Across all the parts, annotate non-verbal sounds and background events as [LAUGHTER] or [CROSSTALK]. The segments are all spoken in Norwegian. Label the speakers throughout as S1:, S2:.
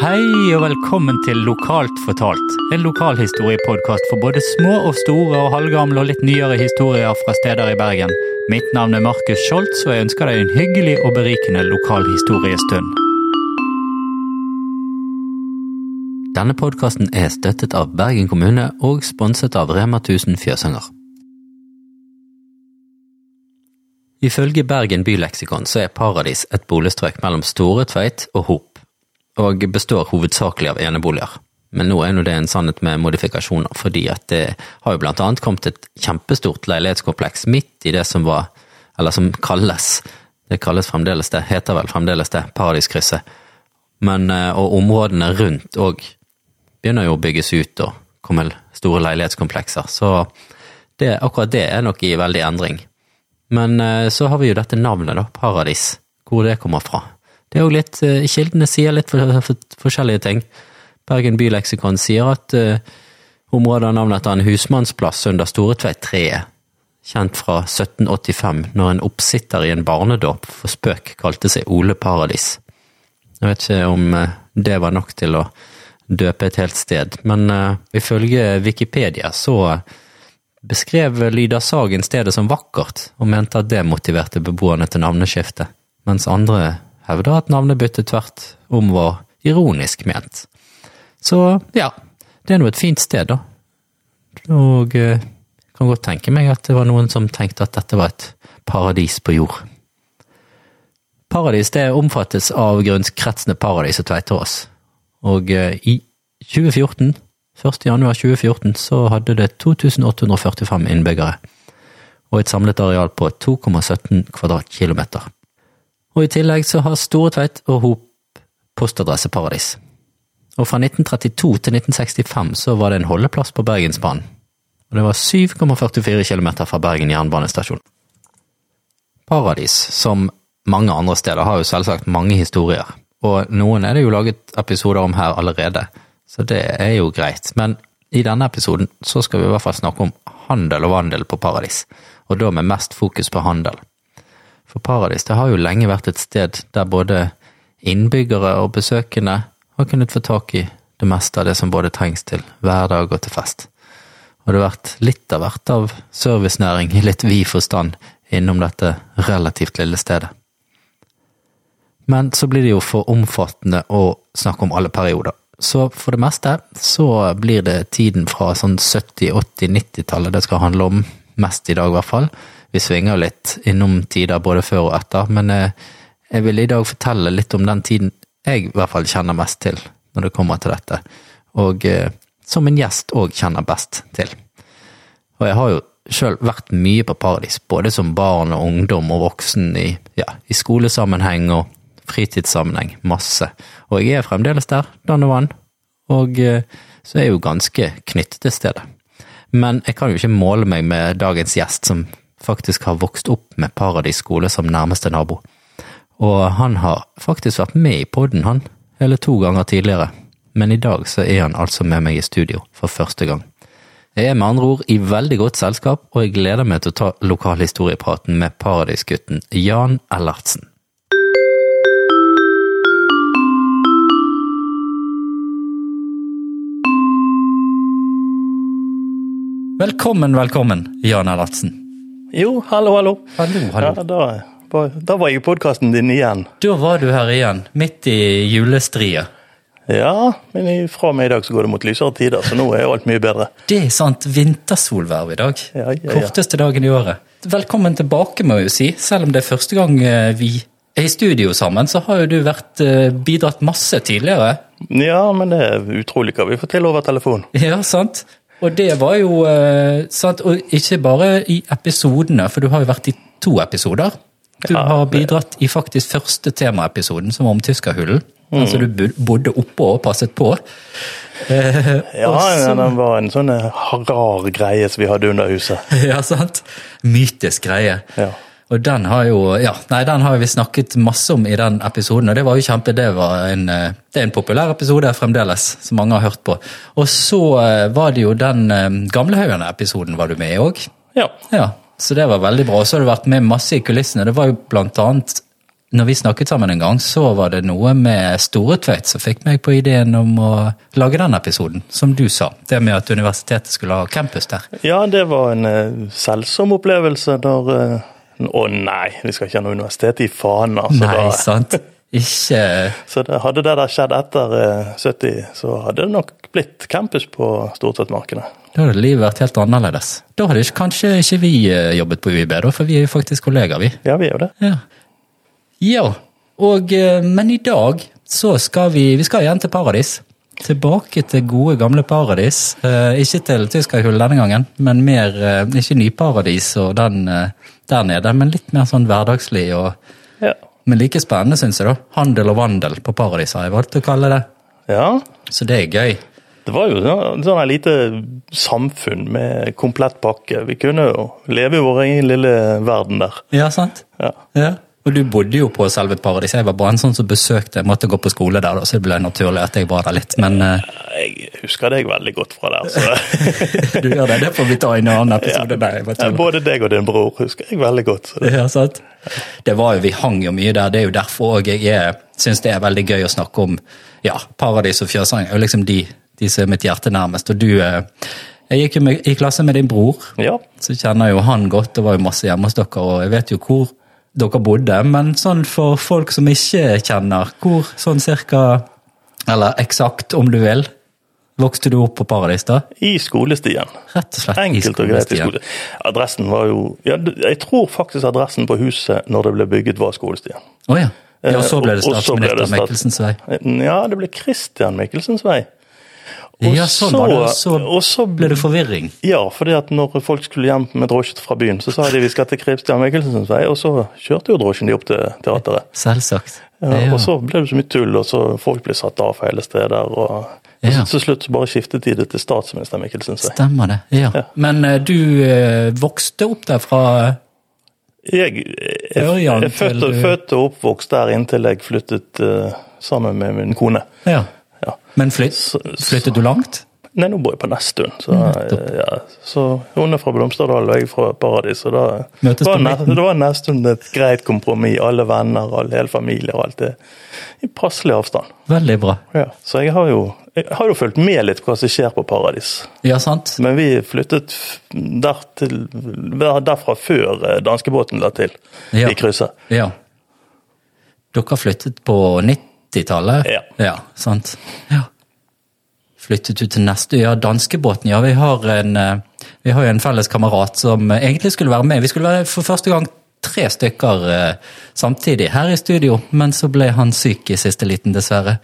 S1: Hei og velkommen til Lokalt fortalt, en lokalhistoriepodkast for både små og store og halvgamle og litt nyere historier fra steder i Bergen. Mitt navn er Markus Scholz, og jeg ønsker deg en hyggelig og berikende lokalhistoriestund. Denne podkasten er støttet av Bergen kommune og sponset av Rema 1000 Fjøsanger. Ifølge Bergen byleksikon så er Paradis et boligstrøk mellom Store Tveit og Hop, og består hovedsakelig av eneboliger. Men nå er nå det en sannhet med modifikasjoner, fordi at det har jo blant annet kommet et kjempestort leilighetskompleks midt i det som var, eller som kalles, det kalles fremdeles det, heter vel fremdeles det, Paradiskrysset. Men, eh, og områdene rundt òg begynner jo å bygges ut og kommer store leilighetskomplekser, så det, akkurat det er nok i veldig endring. Men eh, så har vi jo dette navnet, da, Paradis, hvor det kommer fra. Det er jo litt eh, Kildene sier litt for, for, forskjellige ting. Bergen byleksikon sier at eh, området har navn etter en husmannsplass under Storetveit 3, kjent fra 1785, når en oppsitter i en barnedåp for spøk kalte seg Ole Paradis. Jeg vet ikke om eh, det var nok til å døpe et helt sted, men eh, ifølge Wikipedia så beskrev Lyda Sagen stedet som vakkert, og mente at det motiverte beboerne til navneskiftet, mens andre hevda at navnebyttet tvert om var ironisk ment. Så ja, det er nå et fint sted, da. Og eh, kan godt tenke meg at det var noen som tenkte at dette var et paradis på jord. Paradis det omfattes av grunnskretsene Paradis og Tveiterås. Og eh, i 2014, 1. januar 2014, så hadde det 2845 innbyggere. Og et samlet areal på 2,17 kvadratkilometer. Og i tillegg så har Store Tveit og Hop postadresse Paradis. Og fra 1932 til 1965 så var det en holdeplass på Bergensbanen. Og det var 7,44 km fra Bergen jernbanestasjon. Paradis, som mange andre steder, har jo selvsagt mange historier. Og noen er det jo laget episoder om her allerede, så det er jo greit. Men i denne episoden så skal vi i hvert fall snakke om handel og vandel på Paradis, og da med mest fokus på handel. For Paradis det har jo lenge vært et sted der både innbyggere og besøkende har kunnet få tak i det meste av det som både trengs til hverdag og til fest. Og det har vært litt av hvert av servicenæring i litt vid forstand innom dette relativt lille stedet. Men så blir det jo for omfattende å snakke om alle perioder. Så for det meste så blir det tiden fra sånn 70-, 80-, 90-tallet det skal handle om. Mest i dag, i hvert fall. Vi svinger jo litt innom tider både før og etter, men eh, jeg vil i dag fortelle litt om den tiden jeg i hvert fall kjenner mest til når det kommer til dette, og eh, som en gjest òg kjenner best til. Og jeg har jo sjøl vært mye på Paradis, både som barn og ungdom og voksen i, ja, i skolesammenheng og fritidssammenheng, masse. Og jeg er fremdeles der, Dannevann, og eh, så er jeg jo ganske knyttet til stedet. Men jeg kan jo ikke måle meg med dagens gjest, som faktisk har vokst opp med Paradis skole som nærmeste nabo. Og han har faktisk vært med i podden, han, hele to ganger tidligere. Men i dag så er han altså med meg i studio for første gang. Jeg er med andre ord i veldig godt selskap, og jeg gleder meg til å ta lokalhistoriepraten med Paradisgutten Jan Ellertsen. Velkommen, velkommen, Jan Ellertsen.
S2: Jo, hallo, hallo.
S1: Hallo,
S2: Ja, da, var- da var jeg i podkasten din igjen.
S1: Da var du her igjen, midt i julestria.
S2: Ja, men fra og med i dag så går det mot lysere tider, så nå er jo alt mye bedre.
S1: Det er sant, vintersolverv i dag.
S2: Ja, ja, ja.
S1: Korteste dagen i året. Velkommen tilbake, må jeg jo si. Selv om det er første gang eh, vi er i studio sammen, så har jo du vært, eh, bidratt masse tidligere. [LAUGHS]
S2: Ja, men det er utrolig hva vi får til over telefon.
S1: Ja, sant? Og det var jo eh, sant? Og ikke bare i episodene, for du har jo vært i to episoder. Du
S2: Ja,
S1: har bidratt i faktisk første temaepisoden, som var om tyskerhullen.
S2: Mm.
S1: Altså du bo- bodde oppå og passet på. Eh,
S2: Ja,
S1: og så-
S2: ja, den var en sånn eh, rar greie som vi hadde under huset.
S1: [LAUGHS] Ja, sant? Mytisk greie.
S2: Ja.
S1: Og den har jo ja, nei, den har vi snakket masse om i den episoden, og det var jo kjempe, det var en, eh, det er en populær episode fremdeles, som mange har hørt på. Og så eh, var det jo den eh, Gamlehaugene-episoden var du med i òg.
S2: Ja.
S1: Ja, så det var veldig bra. Og så har du vært med masse i kulissene. Det var jo blant annet
S3: når vi snakket sammen en gang, så var det noe med Storetveit som fikk meg på ideen om å lage den episoden, som du sa. Det med at universitetet skulle ha campus der.
S2: Ja, det var en eh, selsom opplevelse når eh, Å nei, vi skal ikke ha noe universitet i Fana. Så,
S3: Nei,
S2: da,
S3: sant? Ikke
S2: så det, hadde det der skjedd etter eh, 70, så hadde det nok blitt campus på Stortvettmarkene.
S3: Da hadde livet vært helt annerledes. Da hadde ikke, kanskje ikke vi eh, jobbet på UiB, da, for vi er jo faktisk kollegaer, vi.
S2: Ja, vi er jo det.
S3: Ja. ja. Og, eh, men i dag så skal vi Vi skal igjen til paradis. Tilbake til gode, gamle paradis. Eh, ikke til Tyskerhull denne gangen, men mer eh, Ikke nyparadis og den eh, der nede, men litt mer sånn hverdagslig og
S2: Ja.
S3: Men like spennende, syns jeg, da. Handel og vandel på paradis har jeg valgt å kalle det.
S2: ja.
S3: Så det er
S2: [LAUGHS]
S3: gøy.
S2: Det var jo sånn, sånn et lite samfunn med komplett pakke. Vi kunne jo leve i vår egen lille verden der.
S3: Ja, sant?
S2: Ja.
S3: Ja. Og du bodde jo på selve paradis. Jeg var bare en sånn som besøkte, jeg måtte gå på skole der, da, så det ble naturlig at jeg var der litt. Men eh,
S2: Jeg husker deg veldig godt fra der. Så.
S3: [LAUGHS] du gjør det, det får vi ta i en annen episode. Nei, jeg bare tuller.
S2: Både deg og din bror husker jeg veldig godt. Så det,
S3: Ja, sant? Det var jo, Vi hang jo mye der. Det er jo derfor også jeg er- syns det er veldig gøy å snakke om ja, paradis og fjøsang. Det er jo liksom de, de som er mitt hjerte nærmest. Og du eh, Jeg gikk jo med, i klasse med din bror,
S2: ja.
S3: så kjenner jo han godt. Det var jo masse hjemme hos dere, og jeg vet jo hvor dere bodde. Men sånn for folk som ikke kjenner, hvor sånn cirka, eller eksakt om du vil, vokste du opp på paradis da?
S2: I skolestien.
S3: Rett og slett i
S2: Enkelt og greit i
S3: skolestien.
S2: skole. Adressen var jo ja, du- Jeg tror faktisk adressen på huset når det ble bygget, var skolestien.
S3: Å ja. ja. Og så ble det
S2: Eh, og- og så ble det
S3: statsminister
S2: stat-
S3: Michelsens vei.
S2: Ja, det ble Christian Michelsens vei.
S3: Ja, sånn var det, og så-
S2: og så
S3: Ble det forvirring?
S2: Ja, fordi at når folk skulle hjem med drosje fra byen, så sa de vi skal til Christian Michelsens vei, og så kjørte jo drosjen de opp til teateret.
S3: Selvsagt.
S2: Ja,
S3: Ja.
S2: Og så ble det så mye tull, og så folk ble satt av hele steder. og
S3: Ja.
S2: Til slutt så bare skiftet de det til statsminister Michelsens vei.
S3: Stemmer det. Ja. Men eh, du eh, vokste opp der fra
S2: Jeg, jeg,
S3: Ørjan
S2: jeg er født, og,
S3: til-
S2: født og oppvokst der inntil jeg flyttet eh, sammen med min kone.
S3: Ja.
S2: Ja.
S3: Men flytt,
S2: Så- så-
S3: flyttet du langt?
S2: Nei, nå bor jeg på Nesttun, så, eh, ja. så hun er fra Blomsterdal og jeg er fra Paradis. Og da
S3: Møtes
S2: var,
S3: på
S2: ne,
S3: midten.
S2: da var Nesttun et greit kompromiss. Alle venner, alle, hele familier og alt det. I passelig avstand.
S3: Veldig bra.
S2: Ja. Så jeg har, jo, jeg har jo fulgt med litt på hva som skjer på Paradis.
S3: Ja, sant?
S2: Men vi flyttet f- der til, der, derfra før eh, danskebåten la til
S3: Ja.
S2: i krysset.
S3: Ja. Dere flyttet på 90-tallet?
S2: Ja.
S3: ja. Sant. Ja. Flyttet ut til neste Ja, danskebåten, ja. Vi har en, eh, vi har jo en felles kamerat som eh, egentlig skulle være med. Vi skulle være for første gang tre stykker eh, samtidig her i studio, men så ble han syk i siste liten, dessverre.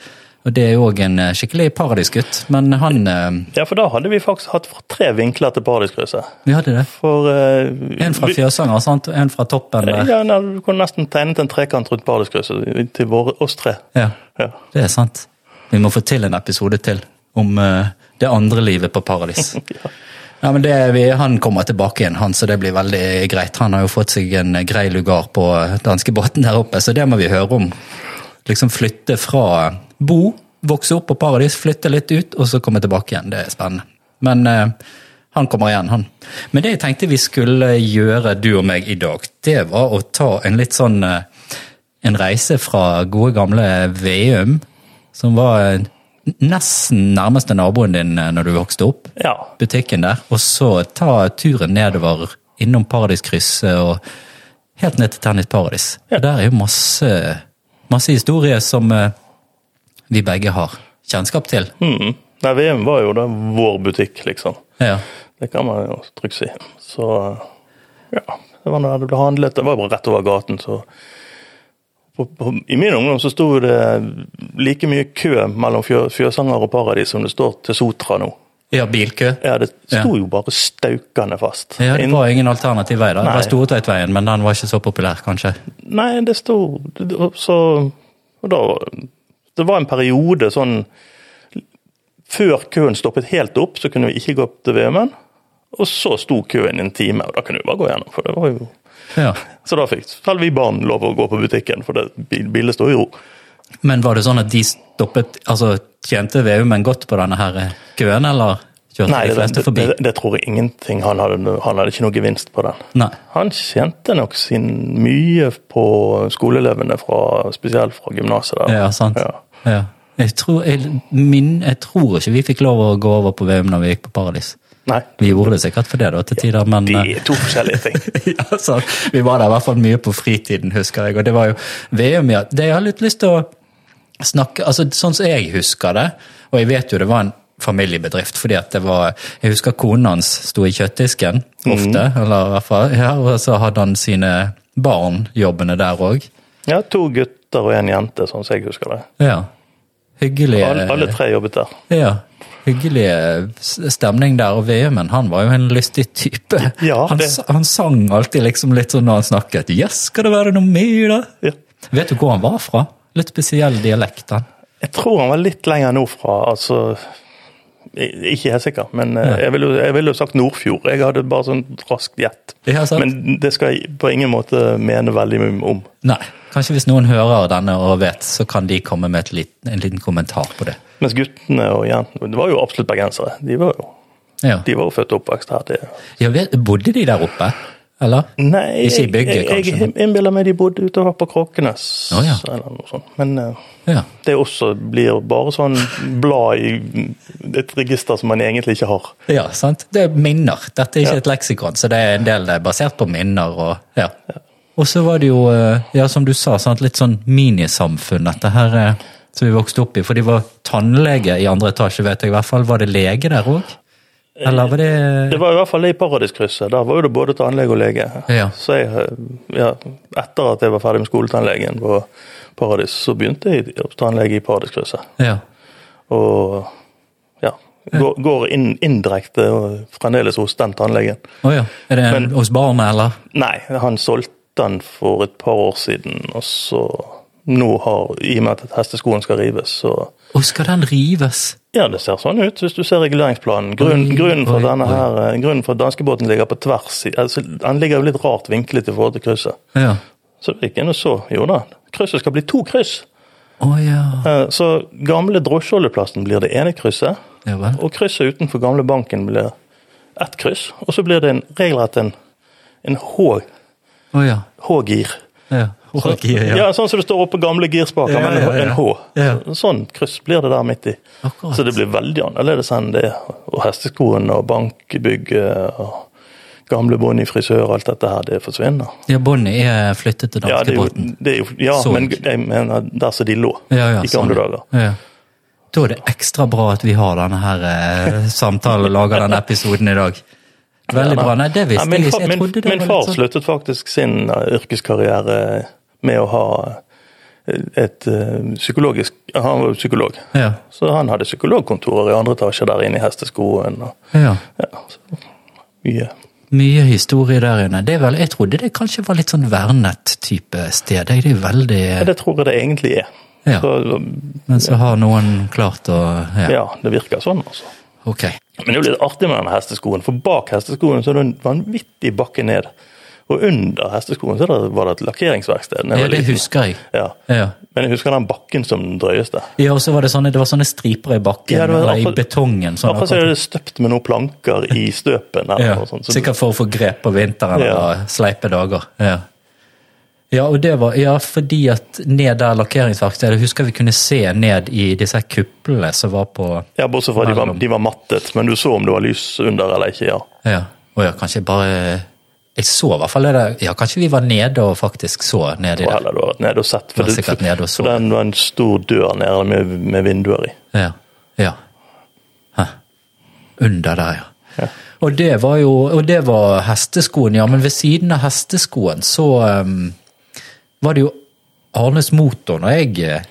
S3: Og det er jo òg en eh, skikkelig paradisgutt, men han eh,
S2: Ja, for da hadde vi faktisk hatt fra tre vinkler til Paradiskrysset.
S3: Vi hadde det.
S2: For eh,
S3: En fra
S2: vi-
S3: Fjøsanger, sant, og en fra toppen der.
S2: Ja, nei, du kunne nesten tegnet en trekant rundt Paradiskrysset til våre, oss tre.
S3: Ja.
S2: Ja.
S3: Det er sant. Vi må få til en episode til om eh, det andre livet på paradis. ja. men det, er vi, han kommer tilbake igjen, han, så det blir veldig greit. Han har jo fått seg en eh, grei lugar på danskebåten der oppe, så det må vi høre om. Liksom flytte fra bo, vokse opp på paradis, flytte litt ut, og så komme tilbake igjen. Det er spennende. Men eh, han kommer igjen, han. Men det jeg tenkte vi skulle gjøre, du og meg, i dag, det var å ta en litt sånn eh, en reise fra gode gamle Veum, som var eh, nesten nærmeste naboen din eh, når du vokste opp,
S2: Ja.
S3: butikken der, og så ta turen nedover innom Paradiskrysset og helt ned til Tennis Paradis. Og Der er jo masse, masse historier som eh, vi begge har kjennskap til.
S2: Mm. Nei, VM var jo da vår butikk, liksom.
S3: Ja.
S2: Det kan man jo trygt si. Så ja, det var da det ble handlet. Det var bare rett over gaten, så på, på, I min ungdom så sto det like mye kø mellom Fjø- Fjøsanger og Paradis som det står til Sotra nå.
S3: ja, bilkø.
S2: Ja, det sto jo bare staukende fast.
S3: Ja, det
S2: Inn-
S3: var ingen alternativ vei da.
S2: Nei.
S3: Det var Stortveitveien, men den var ikke så populær, kanskje.
S2: Nei, det sto og Så og da, Det var en periode sånn Før køen stoppet helt opp, så kunne vi ikke gå opp til VM-en. Og så sto køen en time, og da kunne vi bare gå gjennom. for det var jo...
S3: Ja.
S2: Så da fikk selv vi barn lov å gå på butikken, for det, bil- bilen står i ro.
S3: Men var det sånn at de stoppet Altså, tjente VU-menn godt på denne her eh, køen, eller kjørte
S2: Nei,
S3: de
S2: det,
S3: fleste
S2: det,
S3: forbi.
S2: det, det tror jeg ingenting. Han hadde, no- han hadde ikke noe gevinst på den.
S3: Nei.
S2: Han tjente nok sin mye på skoleelevene, fra, spesielt fra gymnaset. der.
S3: Ja, sant.
S2: Ja.
S3: Ja. Jeg, tror, jeg, min, jeg tror ikke vi fikk lov å gå over på VM når vi gikk på Paradis.
S2: Nei,
S3: Vi gjorde det sikkert for det da, til tider, men
S2: de
S3: eh,
S2: er to forskjellige ting.
S3: [LAUGHS] ja, så vi var der i hvert fall mye på fritiden, husker jeg. Og det var jo VM, ja. Det jeg har litt lyst til å snakke altså Sånn som jeg husker det, og jeg vet jo det var en familiebedrift, fordi at det var Jeg husker konen hans sto i kjøttdisken
S2: Mhm.
S3: ofte, eller i hvert fall, ja, og så hadde han sine barn jobbene der òg.
S2: Ja, To gutter og en jente, sånn som jeg husker det.
S3: Ja. Hyggelig.
S2: Alle, alle tre jobbet der.
S3: Ja. Hyggelig eh, s- stemning der, og VM-en, han var jo en lystig type.
S2: Ja,
S3: han,
S2: det-
S3: sa- han sang alltid liksom litt sånn når han snakket. Yes, skal det være noe med i det?
S2: Ja.
S3: Vet du hvor han var fra? Litt spesiell dialekt, han.
S2: Jeg tror han var litt lenger nordfra. altså... i- Ikke helt sikker, men eh, jeg ville jo- jeg ville jo sagt Nordfjord. Jeg hadde bare sånn raskt gjett.
S3: Ja, altså, sant?
S2: Men det skal jeg på ingen måte mene veldig mye om.
S3: Nei, kanskje hvis noen hører denne og vet, så kan de komme med et liten, en liten kommentar på det.
S2: Mens guttene og jentene det var jo absolutt bergensere. De var jo,
S3: Ja,
S2: de var jo født og oppvokst her. Det.
S3: ja vet, Bodde de der oppe, eller?
S2: Nei,
S3: Ikke i bygget,
S2: jeg, jeg,
S3: kanskje?
S2: jeg innbiller meg de bodde utover på Kråkenes.
S3: Å, ja.
S2: eller noe sånt. Men eh,
S3: Ja.
S2: det også blir bare sånn blad i et register som man egentlig ikke har.
S3: ja, sant? Det er minner. Dette er ikke et leksikon, så det er en del eh, basert på minner og ja. Og så var det jo, eh, ja, som du sa, sant? litt sånn minisamfunn, dette her eh, som vi vokste opp i. For de var tannlege i andre etasje, vet jeg i hvert fall. Var det lege der òg? Eller var det
S2: Det var i hvert fall i Paradiskrysset. Der var jo det både tannlege og lege.
S3: Ja.
S2: Så jeg, eh, ja, etter at jeg var ferdig med skoletannlegen på Paradis, så begynte jeg hos tannlege i Paradiskrysset.
S3: Ja.
S2: Og ja, går, går inn, indirekte og fremdeles hos den tannlegen.
S3: Å ja. Er det en,
S2: Men-
S3: hos barna, eller?
S2: Nei, han solgte den for et par år siden, og så nå har, i og med at hesteskoen skal rives, så
S3: Og skal den rives?
S2: ja, det ser sånn ut hvis du ser reguleringsplanen. Grunnen, grunnen, for,
S3: oi,
S2: denne
S3: oi.
S2: her, eh, grunnen for at danskebåten ligger på tvers i- altså, Han ligger jo litt rart vinklet i forhold til krysset.
S3: Ja.
S2: Så det gikk inn og så. Jo da, krysset skal bli to kryss.
S3: Å ja.
S2: Eh, Så gamle drosjeholdeplassen blir det ene krysset,
S3: Ja vel.
S2: og krysset utenfor gamle banken blir ett kryss. Og så blir det en, regelrett en, en H-
S3: Å ja.
S2: H-gir.
S3: Ja.
S2: Så-
S3: Ok, ja.
S2: Ja, sånn som det står oppe gamle girspaker,
S3: Ja,
S2: men
S3: ja, ja.
S2: en H.
S3: Ja.
S2: Så- Sånn kryss blir det der midt i.
S3: Akkurat.
S2: Så det blir veldig annerledes enn det. Og hesteskoen og bankbygget og gamle bonde i frisør og alt dette her, det forsvinner.
S3: Ja, Bonnie er flyttet til
S2: Ja, det er jo,
S3: danskebåten.
S2: det er jo, ja
S3: Sorg.
S2: men jeg mener der som de lå
S3: Ja, ja,
S2: i gamle
S3: sånn, ja.
S2: dager.
S3: Ja. Da er det ekstra bra at vi har denne her eh, samtalen og lager denne episoden i dag. Veldig bra. Nei, det
S2: Ja,
S3: visste
S2: min,
S3: jeg
S2: fa-
S3: ikke. Jeg
S2: min,
S3: trodde det
S2: min
S3: var
S2: far
S3: litt sånn.
S2: sluttet faktisk sin eh, yrkeskarriere med å ha et eh, psykologisk Han var jo psykolog.
S3: Ja.
S2: Så han hadde psykologkontorer i andre etasje der inne i hesteskoen. og
S3: ja.
S2: Ja, så mye.
S3: Mye historie der inne. Det er vel, jeg trodde det kanskje var litt sånn vernet type sted. Det er veldig
S2: Ja, det tror jeg det egentlig er.
S3: Ja.
S2: Så,
S3: Men så har noen klart å ja.
S2: ja, det virker sånn, altså.
S3: Ok.
S2: Men det er jo litt artig med denne hesteskoen, for bak hesteskoen så er det en vanvittig bakke ned. Og under hesteskoen så er det- var det et lakkeringsverksted. når jeg
S3: Ja,
S2: var
S3: det
S2: liten.
S3: husker jeg.
S2: Ja.
S3: Ja.
S2: Men jeg husker den bakken som den drøyeste.
S3: Ja, og så var det sånne, det var sånne striper i bakken,
S2: Ja, det var
S3: eller i
S2: akkurat-
S3: betongen. Sånn,
S2: Akkurat så er det støpt med noen planker i støpen. Eller,
S3: Ja,
S2: noe sånt. sånn. Så,
S3: sikkert for å få grep på vinteren
S2: Ja.
S3: eller sleipe dager. Ja. ja, og det var ja, fordi at ned der lakkeringsverkstedet Husker vi kunne se ned i disse her kuplene som var på
S2: ja, bortsett fra at de var,
S3: Mellom.
S2: de var mattet, men du så om det var lys under eller ikke. ja.
S3: Ja, og ja, kanskje bare Jeg så i hvert fall det der Ja, kanskje vi var nede og faktisk så nedi
S2: Og
S3: der.
S2: heller du har vært nede og sett. For,
S3: Du var
S2: det,
S3: sikkert nede og
S2: for
S3: så.
S2: den var en stor dør nede med, med vinduer i.
S3: Ja. ja. Hæ. Under der, ja.
S2: Ja.
S3: Og det var jo og det var hesteskoen, ja. Men ved siden av hesteskoen så ehm, var det jo Arnes motor når jeg eh,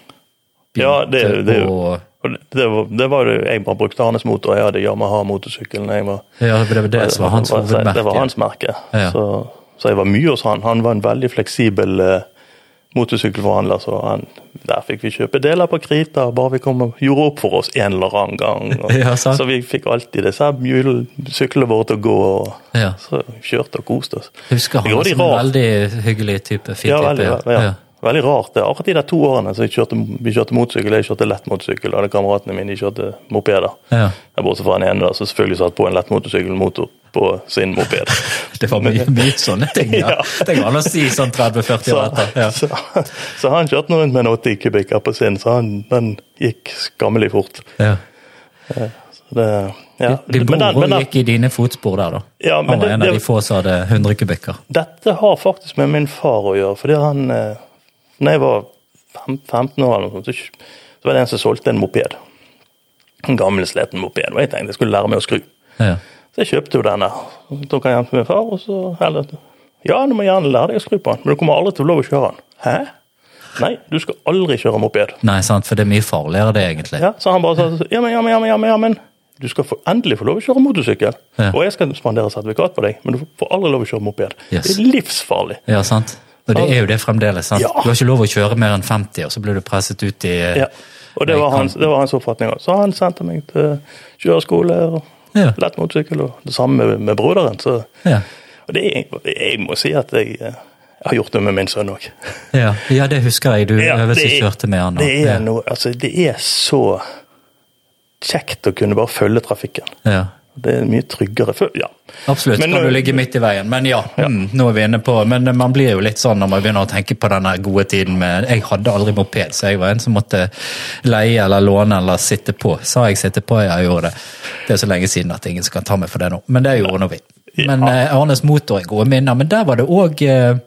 S2: Ja, det, det,
S3: og,
S2: og det, det, var, det var det jeg bare brukte hans motor. Jeg hadde Yamaha-motorsykkelen. jeg var-
S3: ja, det var det som var hans hovedmerke.
S2: Det var hans merke.
S3: Ja.
S2: Så, så jeg var mye hos han. Han var en veldig fleksibel eh, motorsykkelforhandler, så han, der fikk vi kjøpe deler på krita, bare vi kom og gjorde opp for oss en eller annen gang.
S3: [LAUGHS]
S2: Og,
S3: Ja, sant.
S2: så vi fikk alltid disse hjul- syklene våre til å gå, og
S3: Ja.
S2: så kjørte og koste oss.
S3: Jeg husker
S2: Det
S3: han
S2: var de
S3: som en
S2: rart.
S3: veldig hyggelig type. Fin
S2: Ja,
S3: type.
S2: veldig, ja.
S3: ja.
S2: ja. Veldig rart. det. Akkurat de der to årene så jeg kjørte, vi kjørte motorsykkel, jeg kjørte lett motorsykkel, og alle kameratene mine de kjørte mopeder.
S3: Ja.
S2: Ja, Bortsett fra han ene, da, som selvfølgelig satt på en lett motorsykkelmotor på sin
S3: [LAUGHS]
S2: moped.
S3: Det var mye, mye sånne ting, ja.
S2: [LAUGHS] Ja.
S3: Det går an å si sånn 30-40 år
S2: Så,
S3: etter. Ja.
S2: [LAUGHS] så, så han kjørte nå rundt med en 80 kubikker på sin, så han, den gikk skammelig fort.
S3: Ja.
S2: Så det, ja.
S3: Din
S2: Men
S3: bror
S2: den- men den-
S3: gikk i dine fotspor der, da.
S2: Ja, men
S3: han var
S2: det-
S3: en av
S2: det-
S3: de få som hadde 100 kubikker.
S2: Dette har faktisk med min far å gjøre, fordi han eh, når jeg var fem- 15 år, eller noe sånt, så kj- så var det en som solgte en moped. En gammel, sliten moped. Og jeg tenkte jeg skulle lære meg å skru.
S3: Ja.
S2: Så jeg kjøpte jo denne. Så tok han hjem til min far, og så heller Ja, du må gjerne lære deg å skru på den, men du kommer aldri til å få lov å kjøre den. Hæ? Nei, du skal aldri kjøre moped.
S3: Nei, sant, for det er mye farligere, det, egentlig.
S2: Ja, så han bare sa ja, men, ja, men, ja, men, ja, men, ja, men. Du skal få, endelig få lov å kjøre motorsykkel.
S3: Ja.
S2: Og jeg skal spandere sertifikat på deg, men du får aldri lov å kjøre moped.
S3: Yes.
S2: Det er livsfarlig.
S3: Ja, sant? Og det er jo det fremdeles. sant?
S2: Ja.
S3: Du har ikke lov å kjøre mer enn 50, og så blir du presset ut i
S2: Ja. Og det
S3: Nei,
S2: var,
S3: kan-
S2: hans, det var hans oppfatning òg. Så han sendte meg til kjøreskole og
S3: Ja.
S2: lett motorsykkel, og det samme med, med broderen. Så
S3: Ja.
S2: og det, er- jeg må si at jeg, eh, jeg har gjort det med min sønn òg.
S3: Ja. ja, det husker jeg. Du
S2: Ja,
S3: øvelseskjørte med han. og-
S2: det er
S3: ja.
S2: noe Altså, det er så kjekt å kunne bare følge trafikken.
S3: Ja.
S2: Det er mye tryggere. før- ja.
S3: Absolutt,
S2: Men eh,
S3: kan
S2: nå-
S3: du ligge midt i veien. Men ja, Mm, nå er vi inne på Men man blir jo litt sånn når man begynner å tenke på denne gode tiden med Jeg hadde aldri moped, så jeg var en som måtte leie eller låne eller sitte på. Sa jeg sitte på? Ja, jeg gjorde det. Det er så lenge siden at det er ingen som kan ta meg for det nå. Men det gjorde nå vi. Men eh, Arnes motor er gode minner. Men der var det òg eh,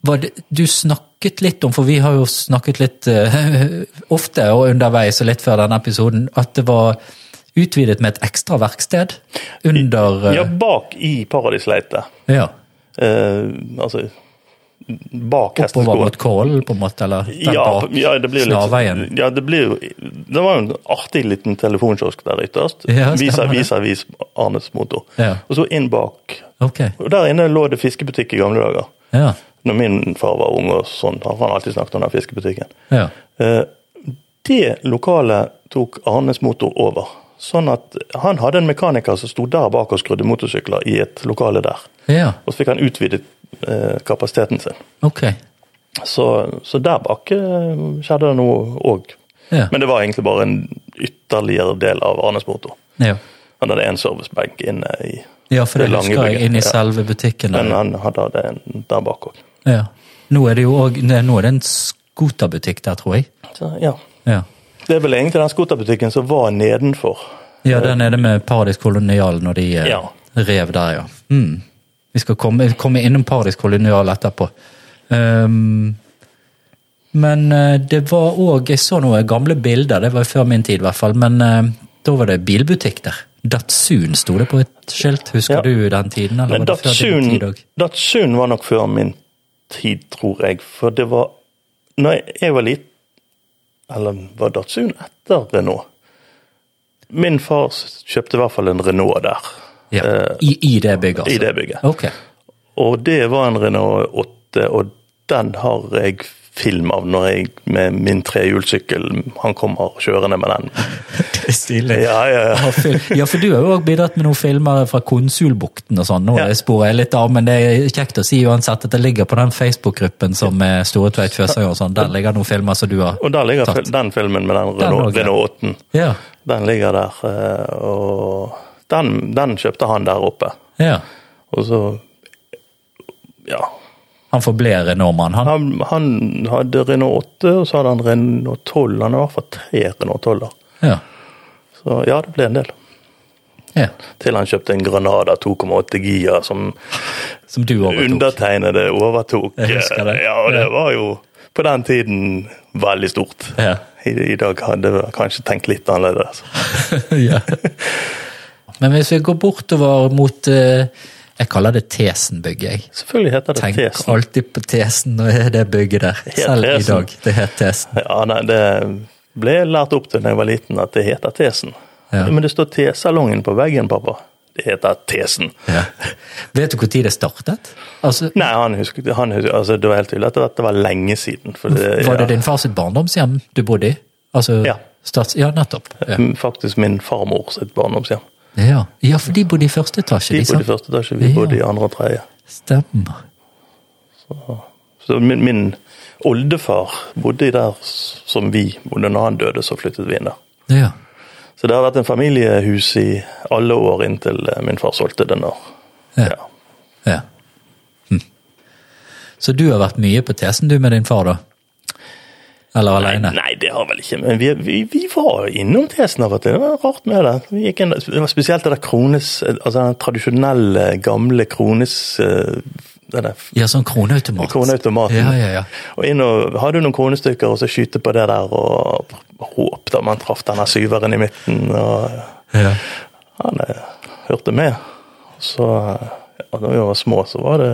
S3: var det, du snakket litt om, for vi har jo snakket litt eh, [LAUGHS] ofte og underveis og litt før denne episoden, at det var utvidet med et ekstra verksted under eh,
S2: ja, bak i Paradisleite.
S3: ja,
S2: Eh, altså bak
S3: Oppover
S2: hesteskoen.
S3: mot Kålen, på en måte, eller den
S2: Ja,
S3: bak
S2: ja, det blir jo
S3: Snarveien.
S2: litt, ja, det blir jo Det var jo en artig liten telefonkiosk der ytterst.
S3: Ja, stemmer
S2: Vis
S3: det.
S2: avis, avis, Arnes motor.
S3: Ja.
S2: Og så inn bak.
S3: Ok,
S2: Og der inne lå det fiskebutikk i gamle dager.
S3: ja,
S2: Når min far var ung og sånn, har han alltid snakket om den fiskebutikken.
S3: ja.
S2: Eh, Det lokalet tok Arnes motor over. Sånn at han hadde en mekaniker som sto der bak og skrudde motorsykler i et lokale der.
S3: Ja,
S2: Og så fikk han utvidet eh, kapasiteten sin.
S3: ok.
S2: Så, så der bak eh, skjedde det noe òg.
S3: Ja.
S2: Men det var egentlig bare en ytterligere del av Arnes motor.
S3: Ja,
S2: Han hadde en servicebenk inne i
S3: ja for det,
S2: Det lange
S3: husker jeg,
S2: bygget,
S3: inne i
S2: ja.
S3: selve butikken.
S2: Men
S3: Der.
S2: han hadde hadde en der bak òg.
S3: Ja. Nå er det jo òg Nå er det en skoterbutikk der, tror jeg.
S2: Så ja.
S3: Ja.
S2: Det er vel egentlig den skoterbutikken som var nedenfor.
S3: Ja, der nede med Paradis Kolonial når de eh,
S2: Ja.
S3: rev der, ja. Mm. Vi skal komme, komme innom Paradis Kolonial etterpå. Ehm, men eh, det var òg Jeg så noen gamle bilder, det var jo før min tid i hvert fall, men eh, da var det bilbutikk der. Datsun sto det på et skilt, husker
S2: Ja.
S3: du den tiden? Eller
S2: Men
S3: var det før din
S2: Datsun,
S3: tid òg?
S2: Datsun var nok før min tid, tror jeg. For det var Når jeg- jeg var liten Eller var Datsun etter Renault? Min far s- kjøpte i hvert fall en Renault der.
S3: Ja.
S2: eh,
S3: I, I det bygget, altså?
S2: I det bygget.
S3: Ok.
S2: Og det var en Renault 8, og den har jeg film av når jeg med min trehjulssykkel Han kommer kjørende med den.
S3: [LAUGHS] Det er stilig.
S2: Ja, ja, ja.
S3: Ja, fil- Ja, for du har jo også bidratt med noen filmer fra Konsulbukten og sånn. Nå
S2: Ja.
S3: sporer jeg litt av, men det er kjekt å si uansett at det ligger på den Facebook-gruppen som er Store Tveit Fjøsøy og sånn. Der ligger noen filmer som du har
S2: Og der ligger
S3: tatt.
S2: fil- den filmen med den Renault,
S3: også, ja.
S2: Renault 8.
S3: Ja,
S2: Den ligger der, eh, og den, den kjøpte han der oppe.
S3: ja.
S2: Og så Ja.
S3: Han forble Renault-mann, han.
S2: Han, han hadde Renault 8, og så hadde han Renault 12. Han har i hvert fall tre Renault 12-er.
S3: Ja.
S2: Så ja, det ble en del.
S3: ja.
S2: Til han kjøpte en Granada 2,8 Gia som
S3: Som du overtok.
S2: undertegnede overtok. eh,
S3: Jeg husker det.
S2: Ja, og det
S3: Ja.
S2: var jo på den tiden veldig stort.
S3: Ja.
S2: I, I dag hadde jeg kanskje tenkt litt annerledes.
S3: [LAUGHS] ja. Men hvis vi går bortover mot eh, Jeg kaller det Tesen-bygget, jeg.
S2: Selvfølgelig heter det
S3: Tenk
S2: Tesen.
S3: alltid på Tesen når jeg er det bygget der. Selv i
S2: Tesen.
S3: dag. Det het Tesen.
S2: Ja, nei, det ble jeg lært opp til da jeg var liten, at det heter Tesen.
S3: Ja.
S2: Men det står T-salongen på veggen, pappa. Det heter Tesen.
S3: Ja. Vet du når det startet? Altså,
S2: Nei, han husket, han husket altså, det var helt tydelig at dette var lenge siden. For det,
S3: Var
S2: Eh,
S3: det
S2: ja.
S3: din far sitt barndomshjem du bodde i? Altså,
S2: Ja.
S3: Stats, ja, nettopp. Ja.
S2: Faktisk min farmor sitt barndomshjem.
S3: Ja. ja, for de bodde i første etasje,
S2: De
S3: de,
S2: bodde i
S3: sant?
S2: første etasje, vi
S3: Ja.
S2: bodde i andre og tredje.
S3: Stemmer.
S2: Så min, min oldefar bodde i der s- som vi bodde når han døde, så flyttet vi inn der.
S3: Ja.
S2: Så det har vært en familiehus i alle år inntil eh, min far solgte det når
S3: Ja.
S2: ja.
S3: ja. Hm. Så du har vært mye på tesen du med din far, da? Eller
S2: Nei,
S3: aleine?
S2: nei, det har vel ikke Men vi, vi, vi var innom tesen av og til. Det var rart med det. Vi gikk inn, det var spesielt det der krones Altså den tradisjonelle, gamle krones... eh, Det der
S3: Ja, sånn kroneautomat.
S2: kroneautomaten.
S3: Ja, ja, ja.
S2: Og inn og hadde noen kronestykker, og så skyte på det der, og håp da man traff denne syveren i midten, og
S3: ja.
S2: [LAUGHS] han eh, hørte med. Så eh, ja, da vi var små, så var det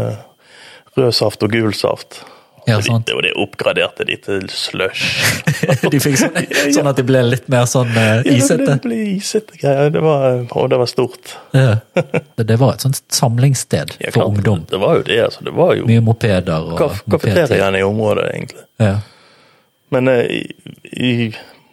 S2: rød saft og gul saft.
S3: Ja,
S2: Og de-
S3: sant.
S2: Det var det oppgraderte de til slush.
S3: [LAUGHS] De fikk
S2: [LAUGHS]
S3: sånn, sånn at de ble litt mer sånn
S2: Ja,
S3: eh,
S2: det
S3: isete.
S2: ble- ble isete greier. Det var, og det var stort.
S3: Ja. Så Det var et sånt samlingssted
S2: Ja,
S3: for
S2: klart,
S3: ungdom.
S2: Det var jo det. altså. Det var jo
S3: Mye mopeder og
S2: kaf
S3: mopedtid.
S2: kafeteriaen i området, egentlig.
S3: Ja.
S2: Men eh, i, i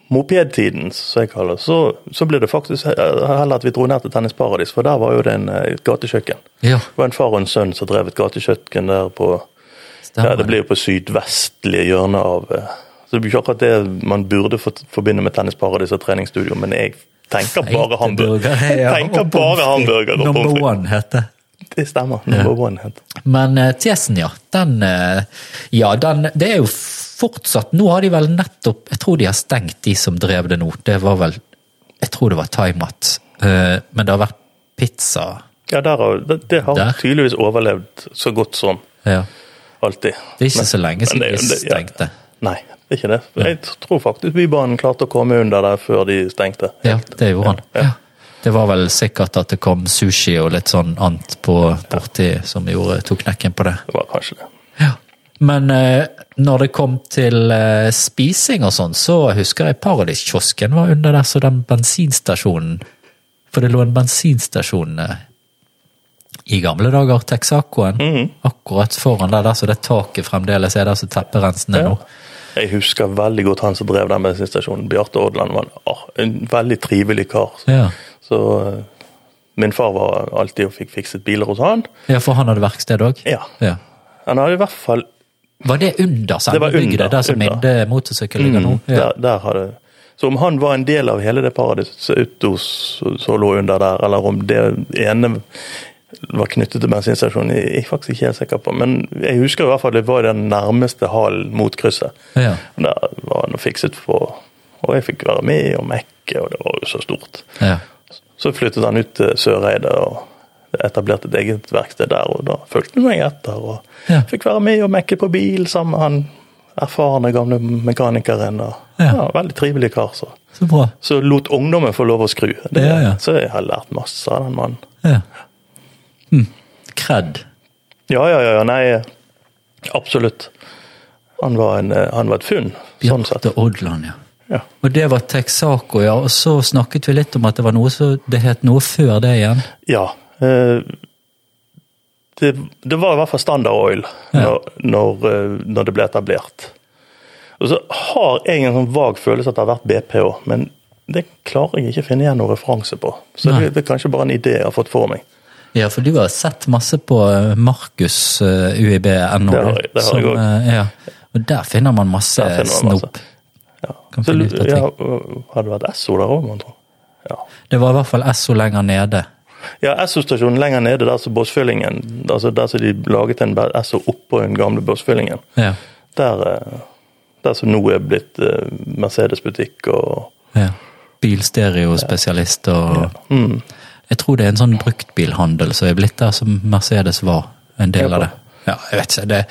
S2: mopedtiden, som jeg kaller det, så, så ble det faktisk he- eh, heller at vi dro ned til Tennisparadis, for der var jo det en, eh, et gatekjøkken.
S3: ja,
S2: Det var en far og en sønn som drev et gatekjøkken der på ja,
S3: stemmer.
S2: Det ble jo på sydvestlige hjørnet av eh, Så det blir ikke akkurat det man burde for, forbinde med Tennisparadis og treningsstudio, men jeg tenker bare
S3: Feite
S2: hamburger.
S3: burgere,
S2: Jeg
S3: ja,
S2: tenker
S3: og pommes
S2: bare
S3: frites.
S2: hamburger og pommes
S3: Number
S2: frites.
S3: one heter
S2: Det stemmer. Number one het det.
S3: Men eh, tesen, ja. Den, eh, ja, den Det er jo fortsatt Nå har de vel nettopp Jeg tror de har stengt, de som drev det nå. Det var vel Jeg tror det var Thaimat. Eh, men det har vært pizza.
S2: Ja, der, har- det, det har
S3: Der.
S2: tydeligvis overlevd så godt som
S3: Ja.
S2: alltid.
S3: Det er ikke
S2: Men-
S3: så lenge
S2: men
S3: siden
S2: det-
S3: de
S2: det- ja.
S3: stengte.
S2: Nei, det er ikke det. Jeg tror faktisk Bybanen klarte å komme under der før de stengte.
S3: Ja, det gjorde han. Ja. Det var vel sikkert at det kom sushi og litt sånn annet på borti som gjorde, tok knekken på det.
S2: Det var kanskje det.
S3: Ja. Men eh, når det kom til eh, spising og sånn, så husker jeg Paradiskiosken var under der, så den bensinstasjonen For det lå en bensinstasjon eh, i gamle dager, Texacoen,
S2: Mhm.
S3: akkurat foran der, der så det taket fremdeles er der, så tepperensene nå.
S2: Jeg husker veldig godt han som drev den bensinstasjonen. Bjarte Odland var en, ah, en veldig trivelig kar.
S3: Ja.
S2: Så eh, min far var alltid og fikk fikset biler hos han.
S3: ja, for han hadde verksted òg?
S2: Ja.
S3: Ja.
S2: Han hadde i hvert fall
S3: Var det under
S2: Det
S3: selve
S2: var
S3: bygget,
S2: under,
S3: det der som
S2: under. Mhm.
S3: Inde motorsykkel ligger nå? Mm, Ja.
S2: der, der hadde, Så om han var en del av hele det paradiset Utto som lå under der, eller om det ene var knyttet til bensinstasjonen, jeg jeg er faktisk ikke helt sikker på. Men jeg husker i hvert fall det var den nærmeste hallen mot krysset.
S3: Ja.
S2: Og Der var han og fikset på, og jeg fikk være med og mekke, og det var jo så stort.
S3: ja.
S2: Så flyttet han ut til Søreide og etablerte et eget verksted der, og da fulgte han meg etter. Og
S3: Ja.
S2: fikk være med og mekke på bil sammen med han erfarne gamle mekanikeren. Og,
S3: Ja.
S2: ja. veldig trivelig kar. Så.
S3: Så bra.
S2: så lot ungdommen få lov å skru. Det,
S3: Ja, ja.
S2: Så jeg har lært masse av den mannen.
S3: Ja. Hm. Kred.
S2: Ja, ja, ja, ja, nei, absolutt. Han var, en, eh, han var et funn, sånn sett.
S3: Bjarte Odland, ja.
S2: Ja.
S3: Og det var Texaco, ja. Og så snakket vi litt om at det var noe så det het noe før det igjen.
S2: Ja. eh, Det, det var i hvert fall standard oil når, når, eh, når det ble etablert. Og så har jeg en sånn vag følelse at det har vært BP òg, men det klarer jeg ikke å finne igjen noen referanse på. Så
S3: Nei.
S2: det, det er kanskje bare en idé jeg har fått for meg.
S3: Ja, for du har sett masse på eh, Markus eh, UiB.no.
S2: Det har jeg- det har jeg
S3: som,
S2: òg.
S3: eh, ja. Og der finner man masse
S2: Der finner man masse.
S3: snop.
S2: Ja.
S3: Kan
S2: Så,
S3: finne ut av ting.
S2: ja, og- hadde det vært Esso der òg, mon tro? Ja.
S3: Det var i hvert fall SO lenger nede.
S2: Ja, Esso-stasjonen lenger nede, der som bossfyllingen altså Der som de laget en ba- Esso oppå den gamle bossfyllingen.
S3: Ja.
S2: Der, eh, der som nå er blitt eh, Mercedes-butikk og
S3: ja. Bilstereospesialist og
S2: Mm.
S3: Jeg tror det er en sånn bruktbilhandel som er blitt der som Mercedes var en del
S2: Ja,
S3: av det. Ja, jeg vet ikke. Det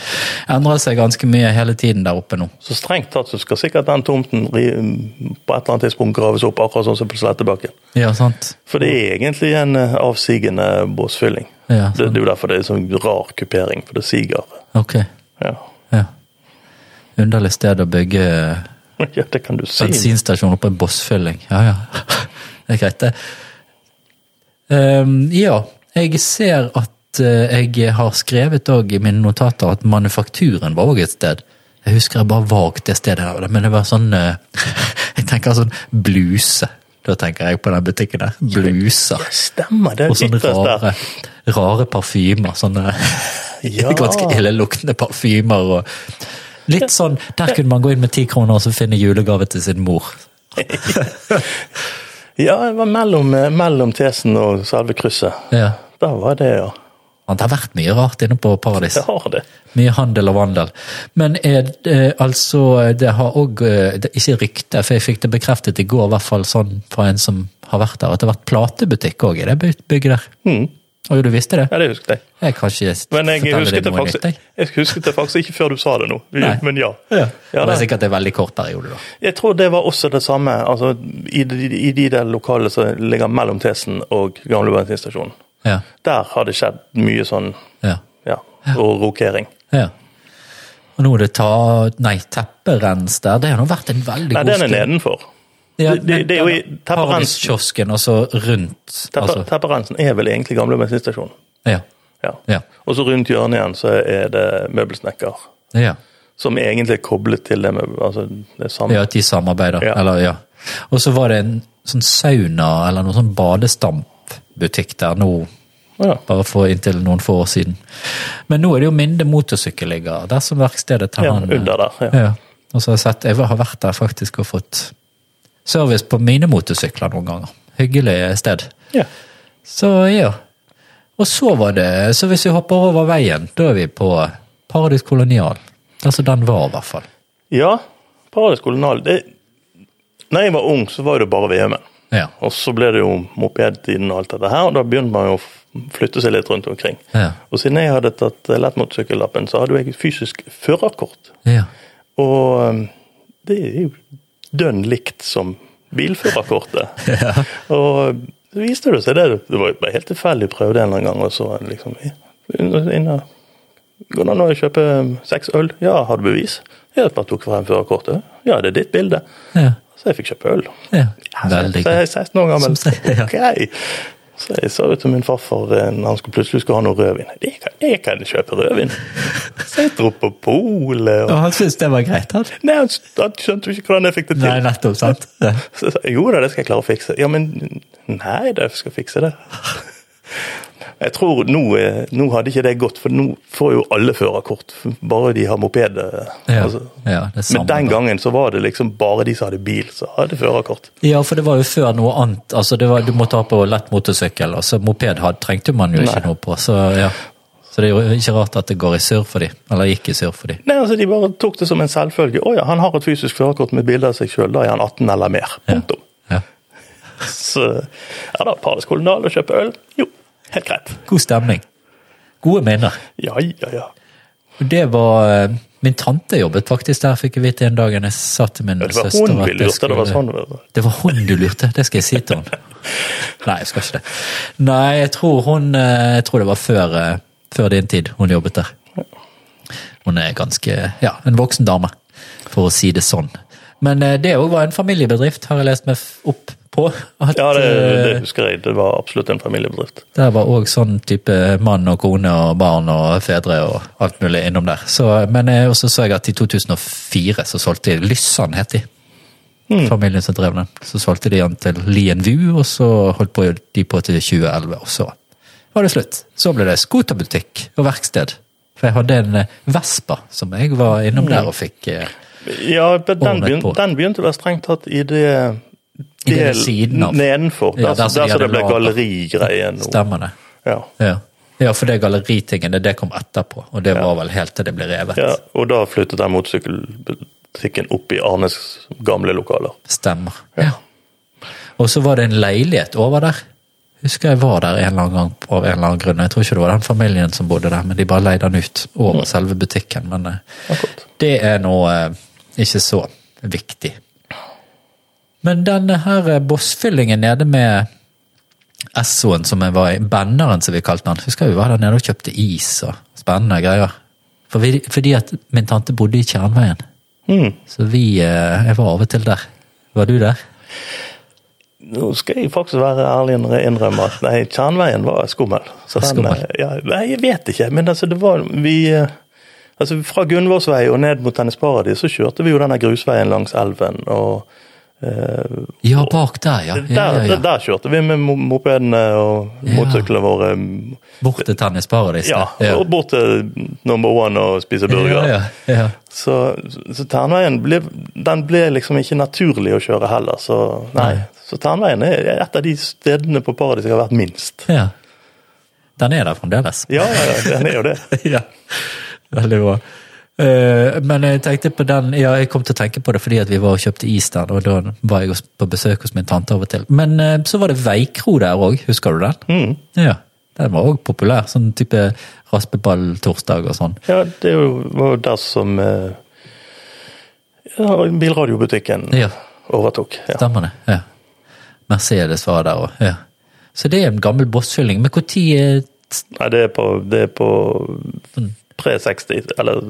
S3: endrer seg ganske mye hele tiden der oppe nå.
S2: Så strengt tatt så skal sikkert den tomten ri- på et eller annet tidspunkt graves opp, akkurat sånn som på Slettebakken.
S3: Ja, sant?
S2: For det er egentlig en eh, avsigende båsfylling.
S3: Ja,
S2: Det,
S3: sant.
S2: det er jo derfor det er sånn rar kupering, for det siger.
S3: Ok.
S2: Ja, [LAUGHS]
S3: Ja. Underlig sted å bygge eh,
S2: ja det kan du
S3: Sånn
S2: si.
S3: bensinstasjon oppe i en bossfylling. Ja, [LAUGHS] ja. Det er greit, det. Ehm, ja, jeg ser at eh, jeg har skrevet òg i mine notater at Manufakturen var òg et sted. Jeg [LAUGHS] husker jeg bare vagt det stedet, der, men det var sånn eh, Jeg tenker sånn bluse. Da tenker jeg på den butikken der. Bluser
S2: Stemmer det.
S3: og sånne
S2: ytterst der.
S3: [LAUGHS] rare, rare parfymer. Sånne [LAUGHS]
S2: Ja.
S3: ganske illeluktende parfymer. Og litt sånn, Der kunne man gå inn med ti kroner og så finne julegave til sin mor.
S2: Ja, det var mellom, eh, mellom tesen og selve krysset.
S3: Ja.
S2: Der var det, ja.
S3: Det har vært mye rart inne på Paradis.
S2: Det har det.
S3: Mye handel og vandel. Men er, eh, altså, det har òg Ikke rykte, for jeg fikk det bekreftet i går, i hvert fall sånn fra en som har vært der, at det har vært platebutikk òg i det by- bygget der. Og jo, du visste det?
S2: Ja, det husket jeg.
S3: Jeg kan ikke s-
S2: Mm. Men jeg
S3: fortelle
S2: husket,
S3: deg
S2: det
S3: noe nytt, jeg.
S2: faktisk, jeg husket det faktisk ikke før du sa det nå. Vi-
S3: Nei.
S2: Men ja.
S3: Ja, det er
S2: det-
S3: sikkert en veldig kort periode, da.
S2: Jeg tror det var også det samme altså, i, de, i de der lokalene som ligger mellom Tesen og Gamle bensinstasjonen.
S3: Ja,
S2: Der har det skjedd mye sånn
S3: ja,
S2: ja, og rokering.
S3: ja. Og nå er det ta... Nei, tepperens der. Det har nå vært en veldig
S2: Nei,
S3: god
S2: den er nedenfor.
S3: Ja,
S2: Det- det-
S3: men
S2: det er jo i
S3: den-
S2: tepperens-
S3: Paradiskiosken, og så rundt.
S2: Tepper,
S3: Altså,
S2: Tepperensen er vel egentlig Gamle bensinstasjon.
S3: ja.
S2: Ja.
S3: Ja.
S2: Og så rundt hjørnet igjen så er det møbelsnekker,
S3: ja.
S2: som egentlig er koblet til det med altså, det samme.
S3: Ja, at de samarbeider.
S2: Ja.
S3: Eller, ja. Og så var det en sånn sauna eller noen sånn badestampbutikk der nå,
S2: Ja.
S3: bare for inntil noen få år siden. Men nå er det jo Minde motorsykkelligger, der som verkstedet til
S2: Ja,
S3: han eh,
S2: under der, ja.
S3: Ja. Og så har jeg sett, jeg har vært der faktisk og fått service på mine motorsykler noen ganger. Hyggelig sted.
S2: Ja.
S3: Så ja. Og så var det, så hvis vi hopper over veien, da er vi på Paradis Kolonial. Altså den var i hvert fall.
S2: ja Paradis kolonial det, Når jeg var ung, så var det jo bare VM-en.
S3: Ja,
S2: Og så ble det jo mopedtiden og alt dette her, og da begynte man jo å f- flytte seg litt rundt omkring.
S3: Ja.
S2: Og siden jeg hadde tatt eh, lettmotorsykkellappen, så hadde jo jeg fysisk førerkort.
S3: ja.
S2: Og eh, det er jo dønn likt som bilførerkortet. Og så viste det seg det. Det var jo bare helt tilfeldig prøvd en eller annen gang, og så liksom ja, inne, Går det an å kjøpe um, seks øl? Ja, har du bevis? Jeg bare tok frem førerkortet. Ja, det er ditt bilde.
S3: ja.
S2: Så jeg fikk kjøpe øl.
S3: Ja,
S2: Ja,
S3: veldig
S2: Så jeg er
S3: gøy.
S2: 16 år gammel.
S3: Som sier, ja.
S2: Ok. Så jeg sa jo til min farfar eh, når han skulle plutselig skulle ha noe rødvin Jeg kan, jeg kan kjøpe
S3: [LAUGHS]
S2: rødvin! Så jeg dro på polet og
S3: Og han syntes det var greit, han.
S2: Nei, han s- han skjønte jo ikke hvordan jeg fikk det til.
S3: Nei, nettopp, sant?
S2: Så jeg sa jo da, det skal jeg klare å fikse. Ja, men nei, da, jeg skal fikse
S3: [LAUGHS]
S2: det. Jeg tror nå, eh, nå hadde ikke det gått, for nå får jo alle førerkort. Bare de har moped. eh,
S3: Ja,
S2: altså.
S3: ja, det er samme
S2: Men den
S3: da.
S2: gangen så var det liksom bare de som hadde bil, som hadde førerkort.
S3: Ja, for det var jo før noe annet. Altså, det var, du måtte ha på lett motorsykkel, og så moped had, trengte man jo ikke
S2: Nei.
S3: noe på. Så, ja. så det er jo ikke rart at det går i surr for de, eller gikk i surr for de.
S2: Nei, altså De bare tok det som en selvfølge. Å ja, han har et fysisk førerkort med bilde av seg sjøl, da er han 18 eller mer. Punktum.
S3: Ja.
S2: Så ja da, Paris Kolonial og kjøpe øl. Jo, helt greit.
S3: God stemning. Gode minner.
S2: Ja, ja, ja.
S3: Og Det var eh, Min tante jobbet faktisk der, fikk jeg vite en dag jeg sa til min
S2: Det var
S3: søster
S2: hun
S3: at
S2: vi
S3: jeg
S2: lurte, det var
S3: skulle-
S2: sånn. vet du.
S3: Det var hun du lurte, det skal jeg si til hun. Nei, jeg skal ikke det. Nei, jeg tror hun eh, Jeg tror det var før, eh, før din tid hun jobbet der. Hun er ganske Ja, en voksen dame, for å si det sånn. Men eh, det òg var en familiebedrift, har jeg lest meg f- opp på. At,
S2: Ja, det, det
S3: eh,
S2: husker jeg. Det var absolutt en familiebedrift.
S3: der var òg sånn type mann og kone og barn og fedre og alt mulig innom der. Så, men eh, også så jeg at i 2004 så solgte de Lyssan, het de. Familien som drev den. Så solgte de den til Lien Vu, og så holdt på de på til 2011, og så var det slutt. Så ble det skoterbutikk og verksted. For jeg hadde en eh, Vespa som jeg var innom der og fikk eh,
S2: Ja, men den,
S3: Ordnet på.
S2: begynte, den begynte vel strengt tatt i det
S3: I det
S2: del-
S3: ved siden av.
S2: Nedenfor.
S3: Ja,
S2: Der,
S3: der
S2: der,
S3: som
S2: så
S3: de
S2: det
S3: hadde
S2: ble
S3: laget.
S2: gallerigreier nå.
S3: stemmene.
S2: Ja.
S3: Ja. ja, for det galleritingene, det kom etterpå, og det var vel helt til det ble revet.
S2: ja. Og da flyttet den motorsykkelbutikken opp i Arnes gamle lokaler.
S3: Stemmer. Ja. Og så var det en leilighet over der. Husker jeg var der en eller annen gang av en eller annen grunn. Jeg tror ikke det var den familien som bodde der, men de bare leide den ut over selve butikken. Men eh,
S2: Akkurat.
S3: det er nå eh, ikke så viktig. Men denne her eh, bossfyllingen nede med Essoen som jeg var i, banneren som vi kalte den, husker jeg vi var der nede og kjøpte is og spennende greier. For vi, fordi at min tante bodde i Tjernveien.
S2: Mm.
S3: Så vi eh, Jeg var av og til der. Var du der?
S2: Nå skal jeg faktisk være ærlig og innrømme at nei, Tjernveien var skummel. Så den,
S3: Skummel.
S2: eh, Ja, nei, jeg vet ikke, men altså, det var vi eh, Altså, fra Gunvorsvei og ned mot Tennisparadis så kjørte vi jo denne grusveien langs elven, og Eh,
S3: Ja, bak der, ja.
S2: der,
S3: ja, ja, ja.
S2: der kjørte vi med mo- mopedene og
S3: Ja.
S2: motorsyklene våre. mm,
S3: Bort til tennisparadiset.
S2: Ja, og bort til number one og spise burger.
S3: Ja, ja, ja.
S2: Så, så Ternveien ble, den ble liksom ikke naturlig å kjøre heller. Så, nei.
S3: Nei.
S2: så Ternveien er et av de stedene på Paradis jeg har vært minst.
S3: ja. Den er der fremdeles.
S2: Ja, ja, ja, den er jo det.
S3: [LAUGHS] ja, veldig bra. Eh, men jeg tenkte på den, ja, jeg kom til å tenke på det fordi at vi var og kjøpte is der, og da var jeg hos- på besøk hos min tante av og til. Men eh, så var det veikro der òg, husker du den?
S2: Mm.
S3: Ja, Den var òg populær, sånn type raspeballtorsdag og sånn.
S2: Ja, det er jo- var jo der som eh, ja, bilradiobutikken
S3: Ja,
S2: overtok. Ja.
S3: stemmer det. Ja. Mercedes var der òg. Ja. Så det er en gammel bossfylling. Men eh, når
S2: Nei, det er på, det er på
S3: Mm.
S2: 360, eller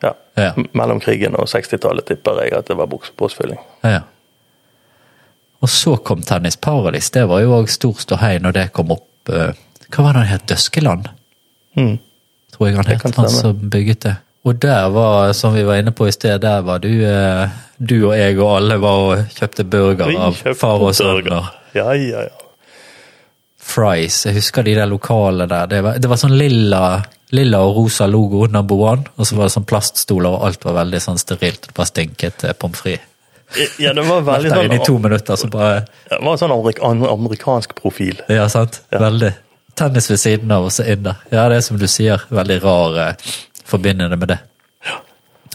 S2: ja,
S3: Ja.
S2: m- mellom krigen og 60-tallet tipper jeg at det var buks- båsfylling.
S3: Ja. Og så kom Tennis Paradis. Det var jo òg stor ståhei når det kom opp. eh, Hva var det han het? Døskeland?
S2: Mm.
S3: Tror jeg han
S2: kan
S3: het. Han
S2: stemme.
S3: som bygget det. Og der var, som vi var inne på i sted, der var du, eh, du og jeg og alle var og kjøpte burger
S2: Vi
S3: av
S2: kjøpte
S3: far og sønn.
S2: burger.
S3: og
S2: Ja, ja, ja.
S3: Fries. Jeg husker de der lokale der. Det var, det var sånn lilla, lilla og rosa logo, number one. Og så var det sånn plaststoler, og alt var veldig sånn sterilt. Det bare stinket eh, pommes frites.
S2: Ja, det var veldig
S3: Der inne i
S2: sånn
S3: to minutter, så bare
S2: Det var en sånn amerik an- amerikansk profil.
S3: Ja, sant? Veldig. Tennis ved siden av og så inn der. Ja, det er som du sier, veldig rar eh, forbindende med det.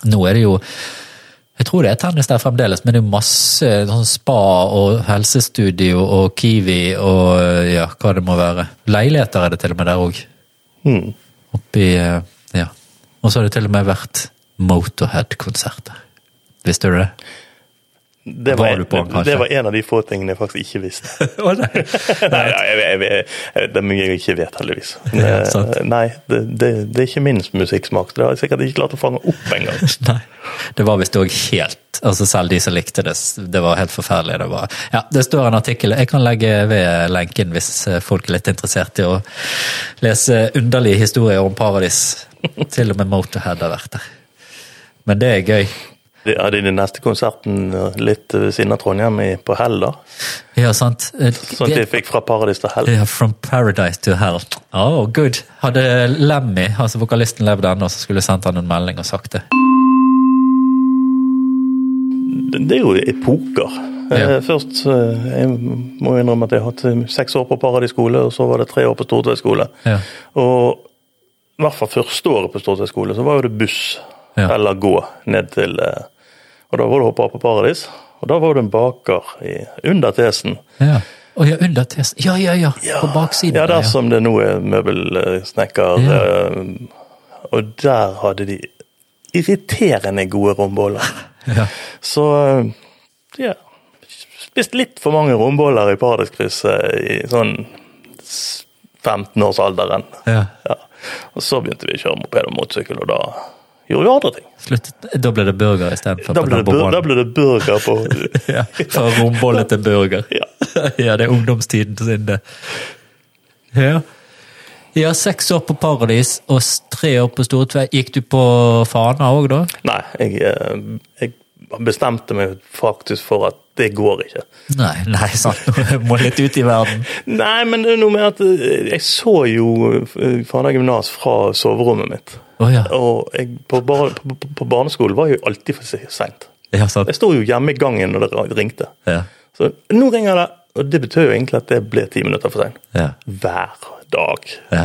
S3: Nå er det jo Jeg tror det er tennis der fremdeles, men det er jo masse sånn spa og helsestudio og Kiwi og eh, ja, hva det må være. Leiligheter er det til og med der òg.
S2: Mm.
S3: Oppi eh, Ja. Og så har det til og med vært Motorhead-konsert der. Visste du det?
S2: Det
S3: Var
S2: var,
S3: du på den, kanskje?
S2: det var en av de få tingene jeg faktisk ikke
S3: [LAUGHS]
S2: visste. [LAUGHS]
S3: Å nei.
S2: Nei, ja, jeg, jeg, jeg, jeg, det er mye jeg ikke vet, heldigvis.
S3: Ja, sant.
S2: Eh, Nei, det, det, det er ikke min musikksmak. så Det har jeg sikkert ikke klart å fange opp engang.
S3: [LAUGHS] Nei. Det var visst òg helt altså Selv de som likte det, det var helt forferdelig. Det, var, ja, det står en artikkel Jeg kan legge ved lenken hvis eh, folk er litt interessert i å lese underlige historier om [LAUGHS] paradis. Til og med Motorhead har vært der. Men det er gøy.
S2: Det er den neste konserten eh, litt ved siden av Trondheim, i- på Hell, da.
S3: Ja, sant? Eh,
S2: Sånn at vi fikk fra paradis til hell.
S3: Ja, From Paradise to Hell. Oh, good. Hadde Lemmy, altså vokalisten, levd ennå, så skulle jeg sendt han en melding og sagt det.
S2: Det det er jo epoker.
S3: Ja.
S2: Eh, Først eh, jeg må jeg innrømme at jeg har hatt eh, seks år på Paradis skole, og så var det tre år på Stortvedt skole.
S3: Ja.
S2: Og i hvert fall første året på Stortvedt skole, så var jo det buss
S3: Ja.
S2: eller gå ned til eh, Og da var det hoppe av på Paradis, og da var det en baker i, under tesen.
S3: Ja. Å ja, under test. Ja, ja, ja. På baksiden.
S2: Ja, der
S3: ja.
S2: som det nå er altså- møbelsnekker.
S3: Ja.
S2: eh, Og der hadde de irriterende gode romboller.
S3: [LAUGHS] Ja.
S2: Så eh, ja Spist litt for mange romboller i Paradiskrysset i sånn s- 15-årsalderen.
S3: Ja.
S2: Ja. Og så begynte vi å kjøre moped og motorsykkel, og da gjorde vi andre ting.
S3: Sluttet. Da ble det burger istedenfor
S2: Da ble det, bur
S3: one.
S2: da ble det burger på
S3: [LAUGHS] ja, fra rombolle til burger.
S2: Ja.
S3: [LAUGHS] ja, det er ungdomstiden sin, det. Ja. ja, seks år på Paradis og s- tre år på Stortvei. Gikk du på Fana òg, da?
S2: Nei, jeg, eh, jeg bestemte meg faktisk for at det går ikke.
S3: Nei, nei, sant. Jeg må litt ut i verden.
S2: Nei, men det er noe med at eh, jeg så jo eh, Fana gymnas fra soverommet mitt.
S3: Å ja.
S2: Og jeg, på, bar på, på- på barneskolen var jeg jo alltid for se- sent.
S3: Ja, sant.
S2: Jeg sto jo hjemme i gangen når det ringte.
S3: Ja.
S2: Så nå ringer det, og det betød jo egentlig at det ble ti minutter for sent.
S3: Ja.
S2: Hver dag.
S3: ja.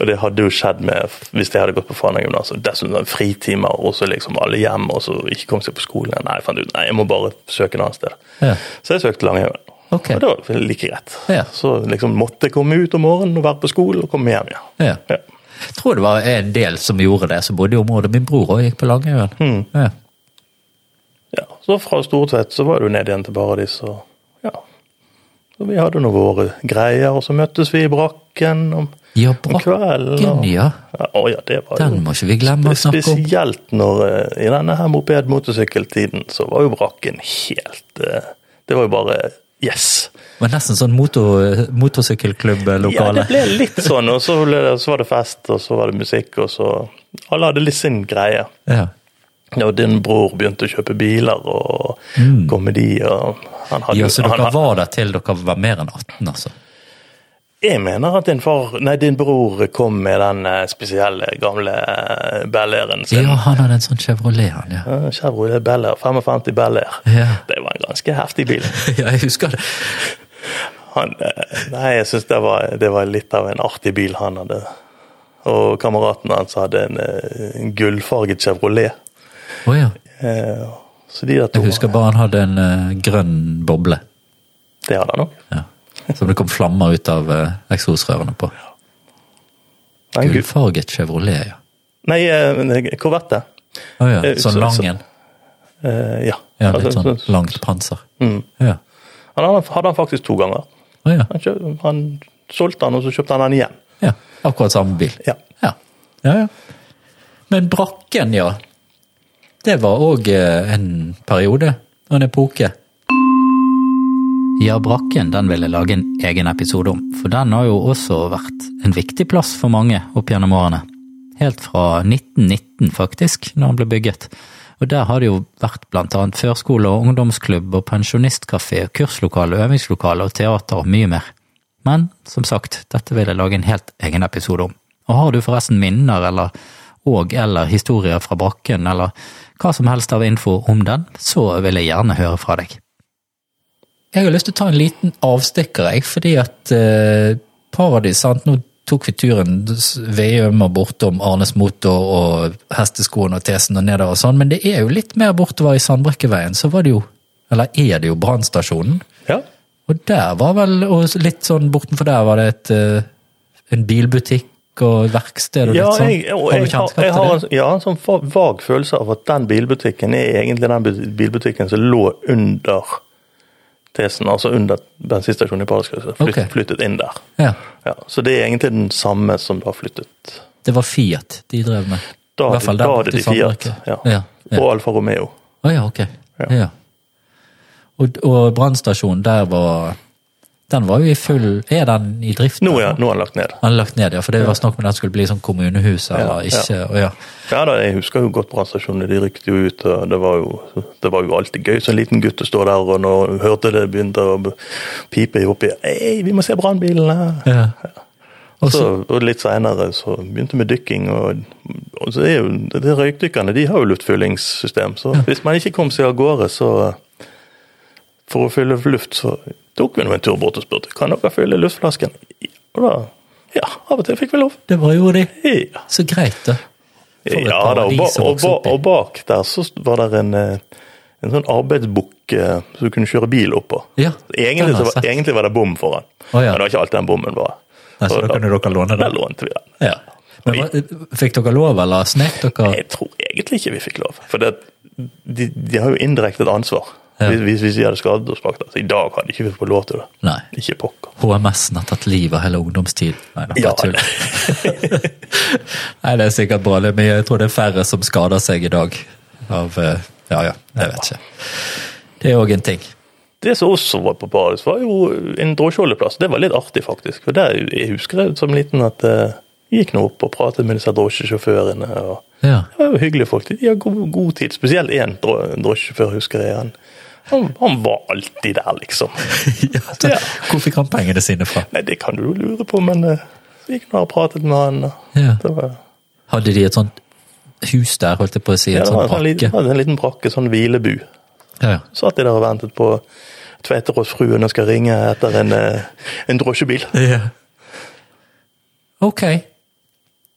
S2: Og det hadde jo skjedd med, hvis jeg hadde gått på Fana gymnas. og Dessuten var det fritimer, og så liksom alle hjem, og så ikke kom seg på skolen. Nei, jeg fant ut, nei, jeg må bare søke et annet sted.
S3: Ja.
S2: Så jeg søkte Langhaugen.
S3: Ok.
S2: Og det var vel like greit.
S3: Ja.
S2: Så liksom måtte jeg komme ut om morgenen og være på skolen, og komme hjem igjen.
S3: ja.
S2: Ja.
S3: Jeg tror det var en del som gjorde det, som bodde i området. Min bror òg gikk på Langøyen.
S2: Hmm.
S3: Ja.
S2: Ja, så fra Stortvedt så var det jo ned igjen til Paradis, og ja. Så vi hadde nå våre greier, og så møttes vi i brakken om,
S3: Ja,
S2: om kvelden.
S3: brakken,
S2: og-
S3: ja.
S2: Ja, Å ja, det var
S3: Den
S2: jo
S3: må ikke vi glemme å snakke om.
S2: Spesielt når eh, i denne her moped-motorsykkeltiden så var jo brakken helt eh, Det var jo bare yes.
S3: Det var nesten sånn motor,
S2: Ja, [LAUGHS]
S3: motorsykkelklubblokale.
S2: det ble litt sånn, og så, ble det, så var det fest, og så var det musikk, og så Alle hadde litt sin greie.
S3: Ja.
S2: Ja, og din bror begynte å kjøpe biler og kom med de, og han hadde
S3: Mm. Ja, så
S2: han,
S3: dere
S2: han,
S3: var der til dere var mer enn 18, altså?
S2: Jeg mener at din far, nei, din bror kom med den eh, spesielle gamle eh, Bel Airen sin.
S3: Ja, han hadde en sånn Chevrolet, han, ja.
S2: Ja, Chevrolet Bel Air, 55 Bel Air.
S3: Ja.
S2: Det var en ganske heftig bil.
S3: [LAUGHS] Ja, jeg husker det.
S2: Han, eh, nei, jeg syns det, var- det var litt av en artig bil han hadde. Og kameraten hans hadde en, eh, en gullfarget Chevrolet.
S3: Å ja.
S2: Eh, Så de der to
S3: Jeg husker bare han hadde en eh, grønn boble.
S2: Det hadde han òg.
S3: Ja. Som det kom flammer ut av eh, eksosrørene på.
S2: En gull-
S3: Gullfarget Chevrolet, ja.
S2: Nei, eh, Corvette.
S3: Å ja.
S2: Eh,
S3: Sånn
S2: så-
S3: lang
S2: så-
S3: en.
S2: Eh, Ja.
S3: Ja,
S2: Altså,
S3: litt sånn
S2: så-
S3: langt panser.
S2: Mm.
S3: Ja.
S2: Han hadde, hadde han faktisk to ganger.
S3: Å ja.
S2: Han, kjø, han solgte han, og så kjøpte han han igjen.
S3: ja. Akkurat samme bil.
S2: Ja.
S3: Ja. ja, ja. Men brakken, ja. Det var òg en periode. Og en epoke.
S1: Ja, brakken den vil jeg lage en egen episode om, for den har jo også vært en viktig plass for mange opp gjennom årene. Helt fra 1919 faktisk, når den ble bygget. Og der har det jo vært blant annet førskole og ungdomsklubb og pensjonistkafé, kurslokale, øvingslokale og teater og mye mer. Men som sagt, dette vil jeg lage en helt egen episode om. Og har du forresten minner eller og eller historier fra brakken eller hva som helst av info om den, så vil jeg gjerne høre fra deg.
S3: Jeg har lyst til å ta en liten avstikker, jeg, fordi at eh, Paradis sant? Nå tok vi turen Veum og bortom Arnes Motor og hesteskoen og tesen og nedover og sånn, men det er jo litt mer bortover i Sandbrekkeveien, så var det jo Eller er det jo brannstasjonen?
S2: Ja.
S3: Og der var vel Og litt sånn bortenfor der var det et eh, en bilbutikk og et verksted og
S2: Ja,
S3: litt sånn.
S2: jeg, og
S3: har
S2: jeg,
S3: du kjennskap
S2: har- jeg har
S3: til det?
S2: en, ja, en sånn fa- vag følelse av at den bilbutikken er egentlig den bu- bilbutikken som lå under tesen, altså under bensinstasjonen i Paradiskrysset. Flytt,
S3: Ok.
S2: Flyttet inn der.
S3: Ja,
S2: Ja, så det er egentlig den samme som da flyttet.
S3: det var Fiat de drev med.
S2: Da
S3: I hvert
S2: hadde-
S3: fall der
S2: da
S3: borte
S2: hadde
S3: i
S2: de Fiat
S3: Sandbrekke.
S2: ja.
S3: Ja, ja.
S2: og Alfa Romeo.
S3: Å ja, ok.
S2: Ja.
S3: Ja. Og, og brannstasjonen der var Den var jo i full Er den i drift?
S2: Nå er,
S3: eller?
S2: nå er han lagt ned.
S3: Den er lagt ned, ja. For det var snakk om den skulle bli sånn kommunehus eller
S2: Ja,
S3: ikke. og Ja.
S2: Ja da, jeg husker jo godt brannstasjonene. De rykte jo ut, og det var jo, det var jo alltid gøy som liten gutt å stå der, og når hun hørte det, begynte å b- pipe i oppi Hei, vi må se brannbilene!
S3: Ja. Og så,
S2: Så- Og litt seinere så begynte vi med dykking, og, og så er jo de røykdykkerne de har jo luftfyllingssystem, så hvis man ikke kom seg av gårde, så For å fylle luft, så tok vi nå en tur bort og spurte kan dere fylle luftflasken. Og da Ja, av og til fikk vi lov.
S3: det var jo de.
S2: Ja.
S3: Så greit, da. For Sånn et
S2: Ja da, og, ba,
S3: paradis å
S2: og,
S3: vokse
S2: ba,
S3: opp i.
S2: og bak der så var det en, eh, en sånn arbeidsbukk eh, som du kunne kjøre bil opp på.
S3: Ja, den
S2: egentlig,
S3: har
S2: så
S3: jeg
S2: var,
S3: sett.
S2: egentlig var det bom foran,
S3: Å, ja.
S2: men det var ikke alltid den bommen var.
S3: Nei, så
S2: Og
S3: da kunne dere låne
S2: Der
S3: den?
S2: lånte vi den.
S3: Ja. Men hva- fikk dere lov, eller snek dere?
S2: Jeg tror egentlig ikke vi fikk lov, for det, de, de har jo indirekte et ansvar.
S3: Ja.
S2: Hvis, hvis- hvis de hadde skadet oss bak der. Så i dag hadde ikke vi fått lov til det.
S3: Nei.
S2: Ikke pokker.
S3: HMS-en har tatt livet av hele ungdomstiden. Nei, det er
S2: Ja.
S3: bare tull. [LAUGHS] Nei, det er sikkert bra, det, men jeg tror det er færre som skader seg i dag. Av, eh, ja, ja, jeg vet ikke. Det er òg en ting.
S2: Det som også var på Paradis, var jo en drosjeholdeplass. Det var litt artig, faktisk. For der, Jeg husker det som liten at eh, jeg gikk nå opp og pratet med disse drosjesjåførene. og
S3: Ja.
S2: Det var jo hyggelige folk. De har god, god tid. Spesielt én dro- drosjesjåfør, husker jeg. Han, han, han var alltid der, liksom.
S3: [LAUGHS] ja da,
S2: Ja.
S3: hvor fikk han pengene sine fra?
S2: Nei, det kan du jo lure på, men eh, jeg gikk nå og pratet med han. og
S3: Ja.
S2: Det var,
S3: Hadde de et sånt hus der, holdt jeg på å si,
S2: ja,
S3: en
S2: det
S3: sånn
S2: var en, sånn liten,
S3: brakke?
S2: en liten brakke, sånn hvilebu.
S3: Ja, ja.
S2: Satt de der og ventet på Tveteråsfruen og skal ringe etter en, eh, en drosjebil.
S3: ja. Ok.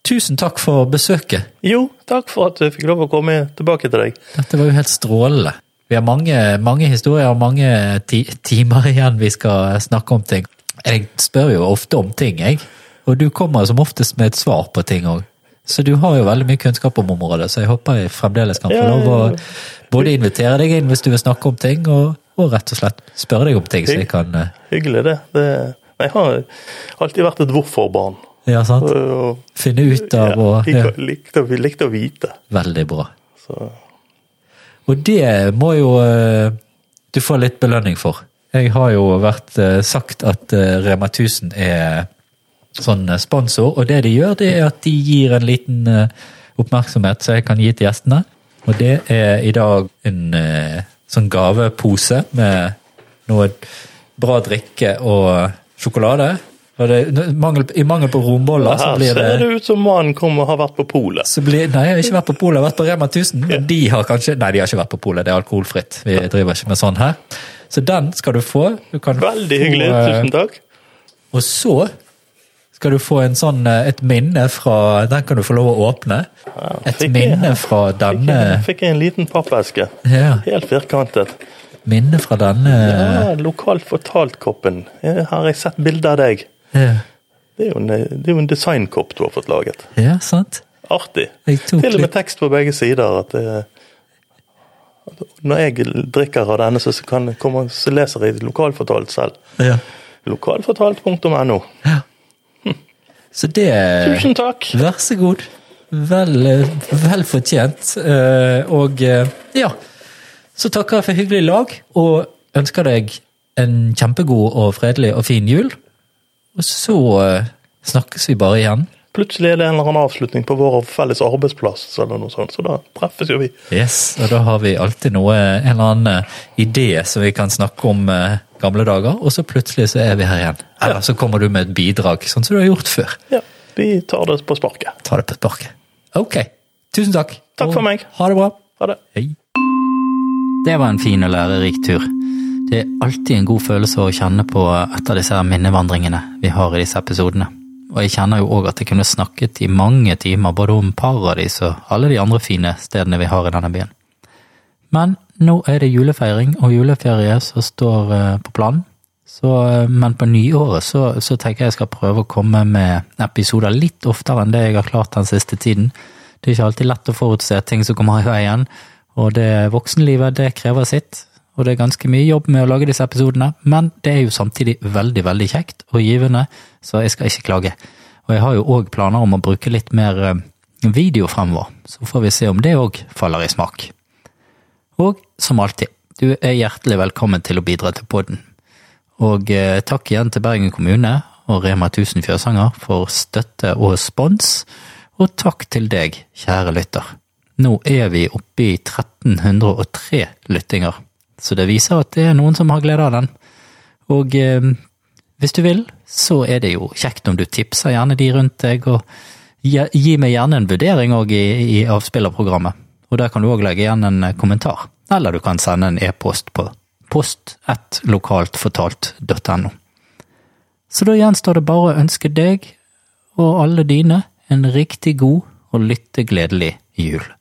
S3: Tusen takk for besøket.
S2: Jo, takk for at du fikk lov å komme tilbake til deg.
S3: Dette var jo helt strålende. Vi har mange, mange historier og mange ti timer igjen vi skal snakke om ting. Jeg spør jo ofte om ting, jeg. Og du kommer som oftest med et svar på ting òg. Så du har jo veldig mye kunnskap om området, så jeg håper jeg fremdeles kan få
S2: Ja, ja,
S3: lov å
S2: ja.
S3: både invitere deg inn hvis du vil snakke om ting, og, og rett og slett spørre deg om ting, så jeg kan eh,
S2: Hyggelig, det. det jeg har alltid vært et hvorfor-barn.
S3: ja, sant?
S2: Og-
S3: finne ut
S2: Ja,
S3: av og ja,
S2: liker- likte, å- likte å vite.
S3: Veldig bra.
S2: Så
S3: Og det må jo eh, du få litt belønning for. Jeg har jo vært eh, sagt at eh, Rema 1000 er sånn eh, sponsor, og det de gjør, det er at de gir en liten eh, oppmerksomhet som jeg kan gi til gjestene. Og det er i dag en eh, sånn gavepose med noe bra drikke og sjokolade. Og det, n- mangel, I mangel på romboller så
S2: Her
S3: blir
S2: ser
S3: det
S2: det ut som mannen kom og har vært på polet.
S3: så blir, Nei, jeg har ikke vært på polet, jeg har vært på Rema 1000. Men de har kanskje Nei, de har ikke vært på polet, det er alkoholfritt. Vi driver ikke med sånn her. Så den skal du få. Du kan
S2: Veldig hyggelig,
S3: få, eh,
S2: tusen takk.
S3: og så skal du få en sånn, eh, et minne fra Den kan du få lov å åpne. Et
S2: fikk jeg.
S3: minne fra
S2: Fikk jeg,
S3: denne
S2: fikk jeg en liten pappeske.
S3: ja,
S2: Helt firkantet.
S3: Minne fra denne
S2: Ja, lokalt fortalt-koppen. Her har jeg sett bilder av deg.
S3: ja.
S2: Det er jo en, det er jo en designkopp du har fått laget.
S3: ja, sant?
S2: Artig.
S3: Jeg tok
S2: Til og med
S3: litt
S2: tekst på begge sider. At det, at når jeg drikker av denne, så, kan, kommer, så leser jeg lokalfortalt selv.
S3: ja.
S2: Lokalfortalt.no.
S3: ja. Så det
S2: Tusen takk!
S3: Vær så god. Vel, eh, vel fortjent. Eh, Og eh, ja, så takker jeg for hyggelig lag, og ønsker deg en kjempegod og fredelig og fin jul. Og så eh, snakkes vi bare igjen.
S2: Plutselig er det en eller annen avslutning på vår felles arbeidsplass, eller noe sånt, så da treffes jo vi.
S3: Yes, og da har vi alltid noe, en eller annen eh, idé som vi kan snakke om eh, gamle dager, og så plutselig så er vi her igjen. Eller så kommer du med et bidrag, sånn som du har gjort før.
S2: Ja, Vi tar det på sparket.
S3: Ta det på sparket. Ok, tusen takk.
S2: Takk for
S3: Og
S2: meg.
S3: Ha det bra.
S2: Ha det.
S3: Hei.
S1: Det var en fin og lærerik tur. Det er alltid en god følelse å kjenne på etter disse her minnevandringene vi har i disse episodene. Og jeg kjenner jo òg at jeg kunne snakket i mange timer både om Paradis og alle de andre fine stedene vi har i denne byen. Men nå er det julefeiring og juleferie som står eh, på planen. Så, eh, men på nyåret så, så tenker jeg jeg skal prøve å komme med episoder litt oftere enn det jeg har klart den siste tiden. Det er ikke alltid lett å forutse ting som kommer i veien, og det voksenlivet det krever sitt. Og det er ganske mye jobb med å lage disse episodene, men det er jo samtidig veldig, veldig kjekt og givende, så jeg skal ikke klage. Og jeg har jo òg planer om å bruke litt mer eh, video fremover, så får vi se om det òg faller i smak. Og som alltid, du er hjertelig velkommen til å bidra til podden. Og eh, takk igjen til Bergen kommune og Rema 1000 Fjøsanger for støtte og spons. Og takk til deg, kjære lytter. Nå er vi oppe i 1303 lyttinger, så det viser at det er noen som har glede av den. Og eh, hvis du vil, så er det jo kjekt om du tipser gjerne de rundt deg, og gi, gi meg gjerne en vurdering òg i, i avspillerprogrammet. Og der kan du òg legge igjen en eh, kommentar. Eller du kan sende en e-post på post1lokaltfortalt.no. Så da gjenstår det bare å ønske deg og alle dine en riktig god og lyttegledelig jul.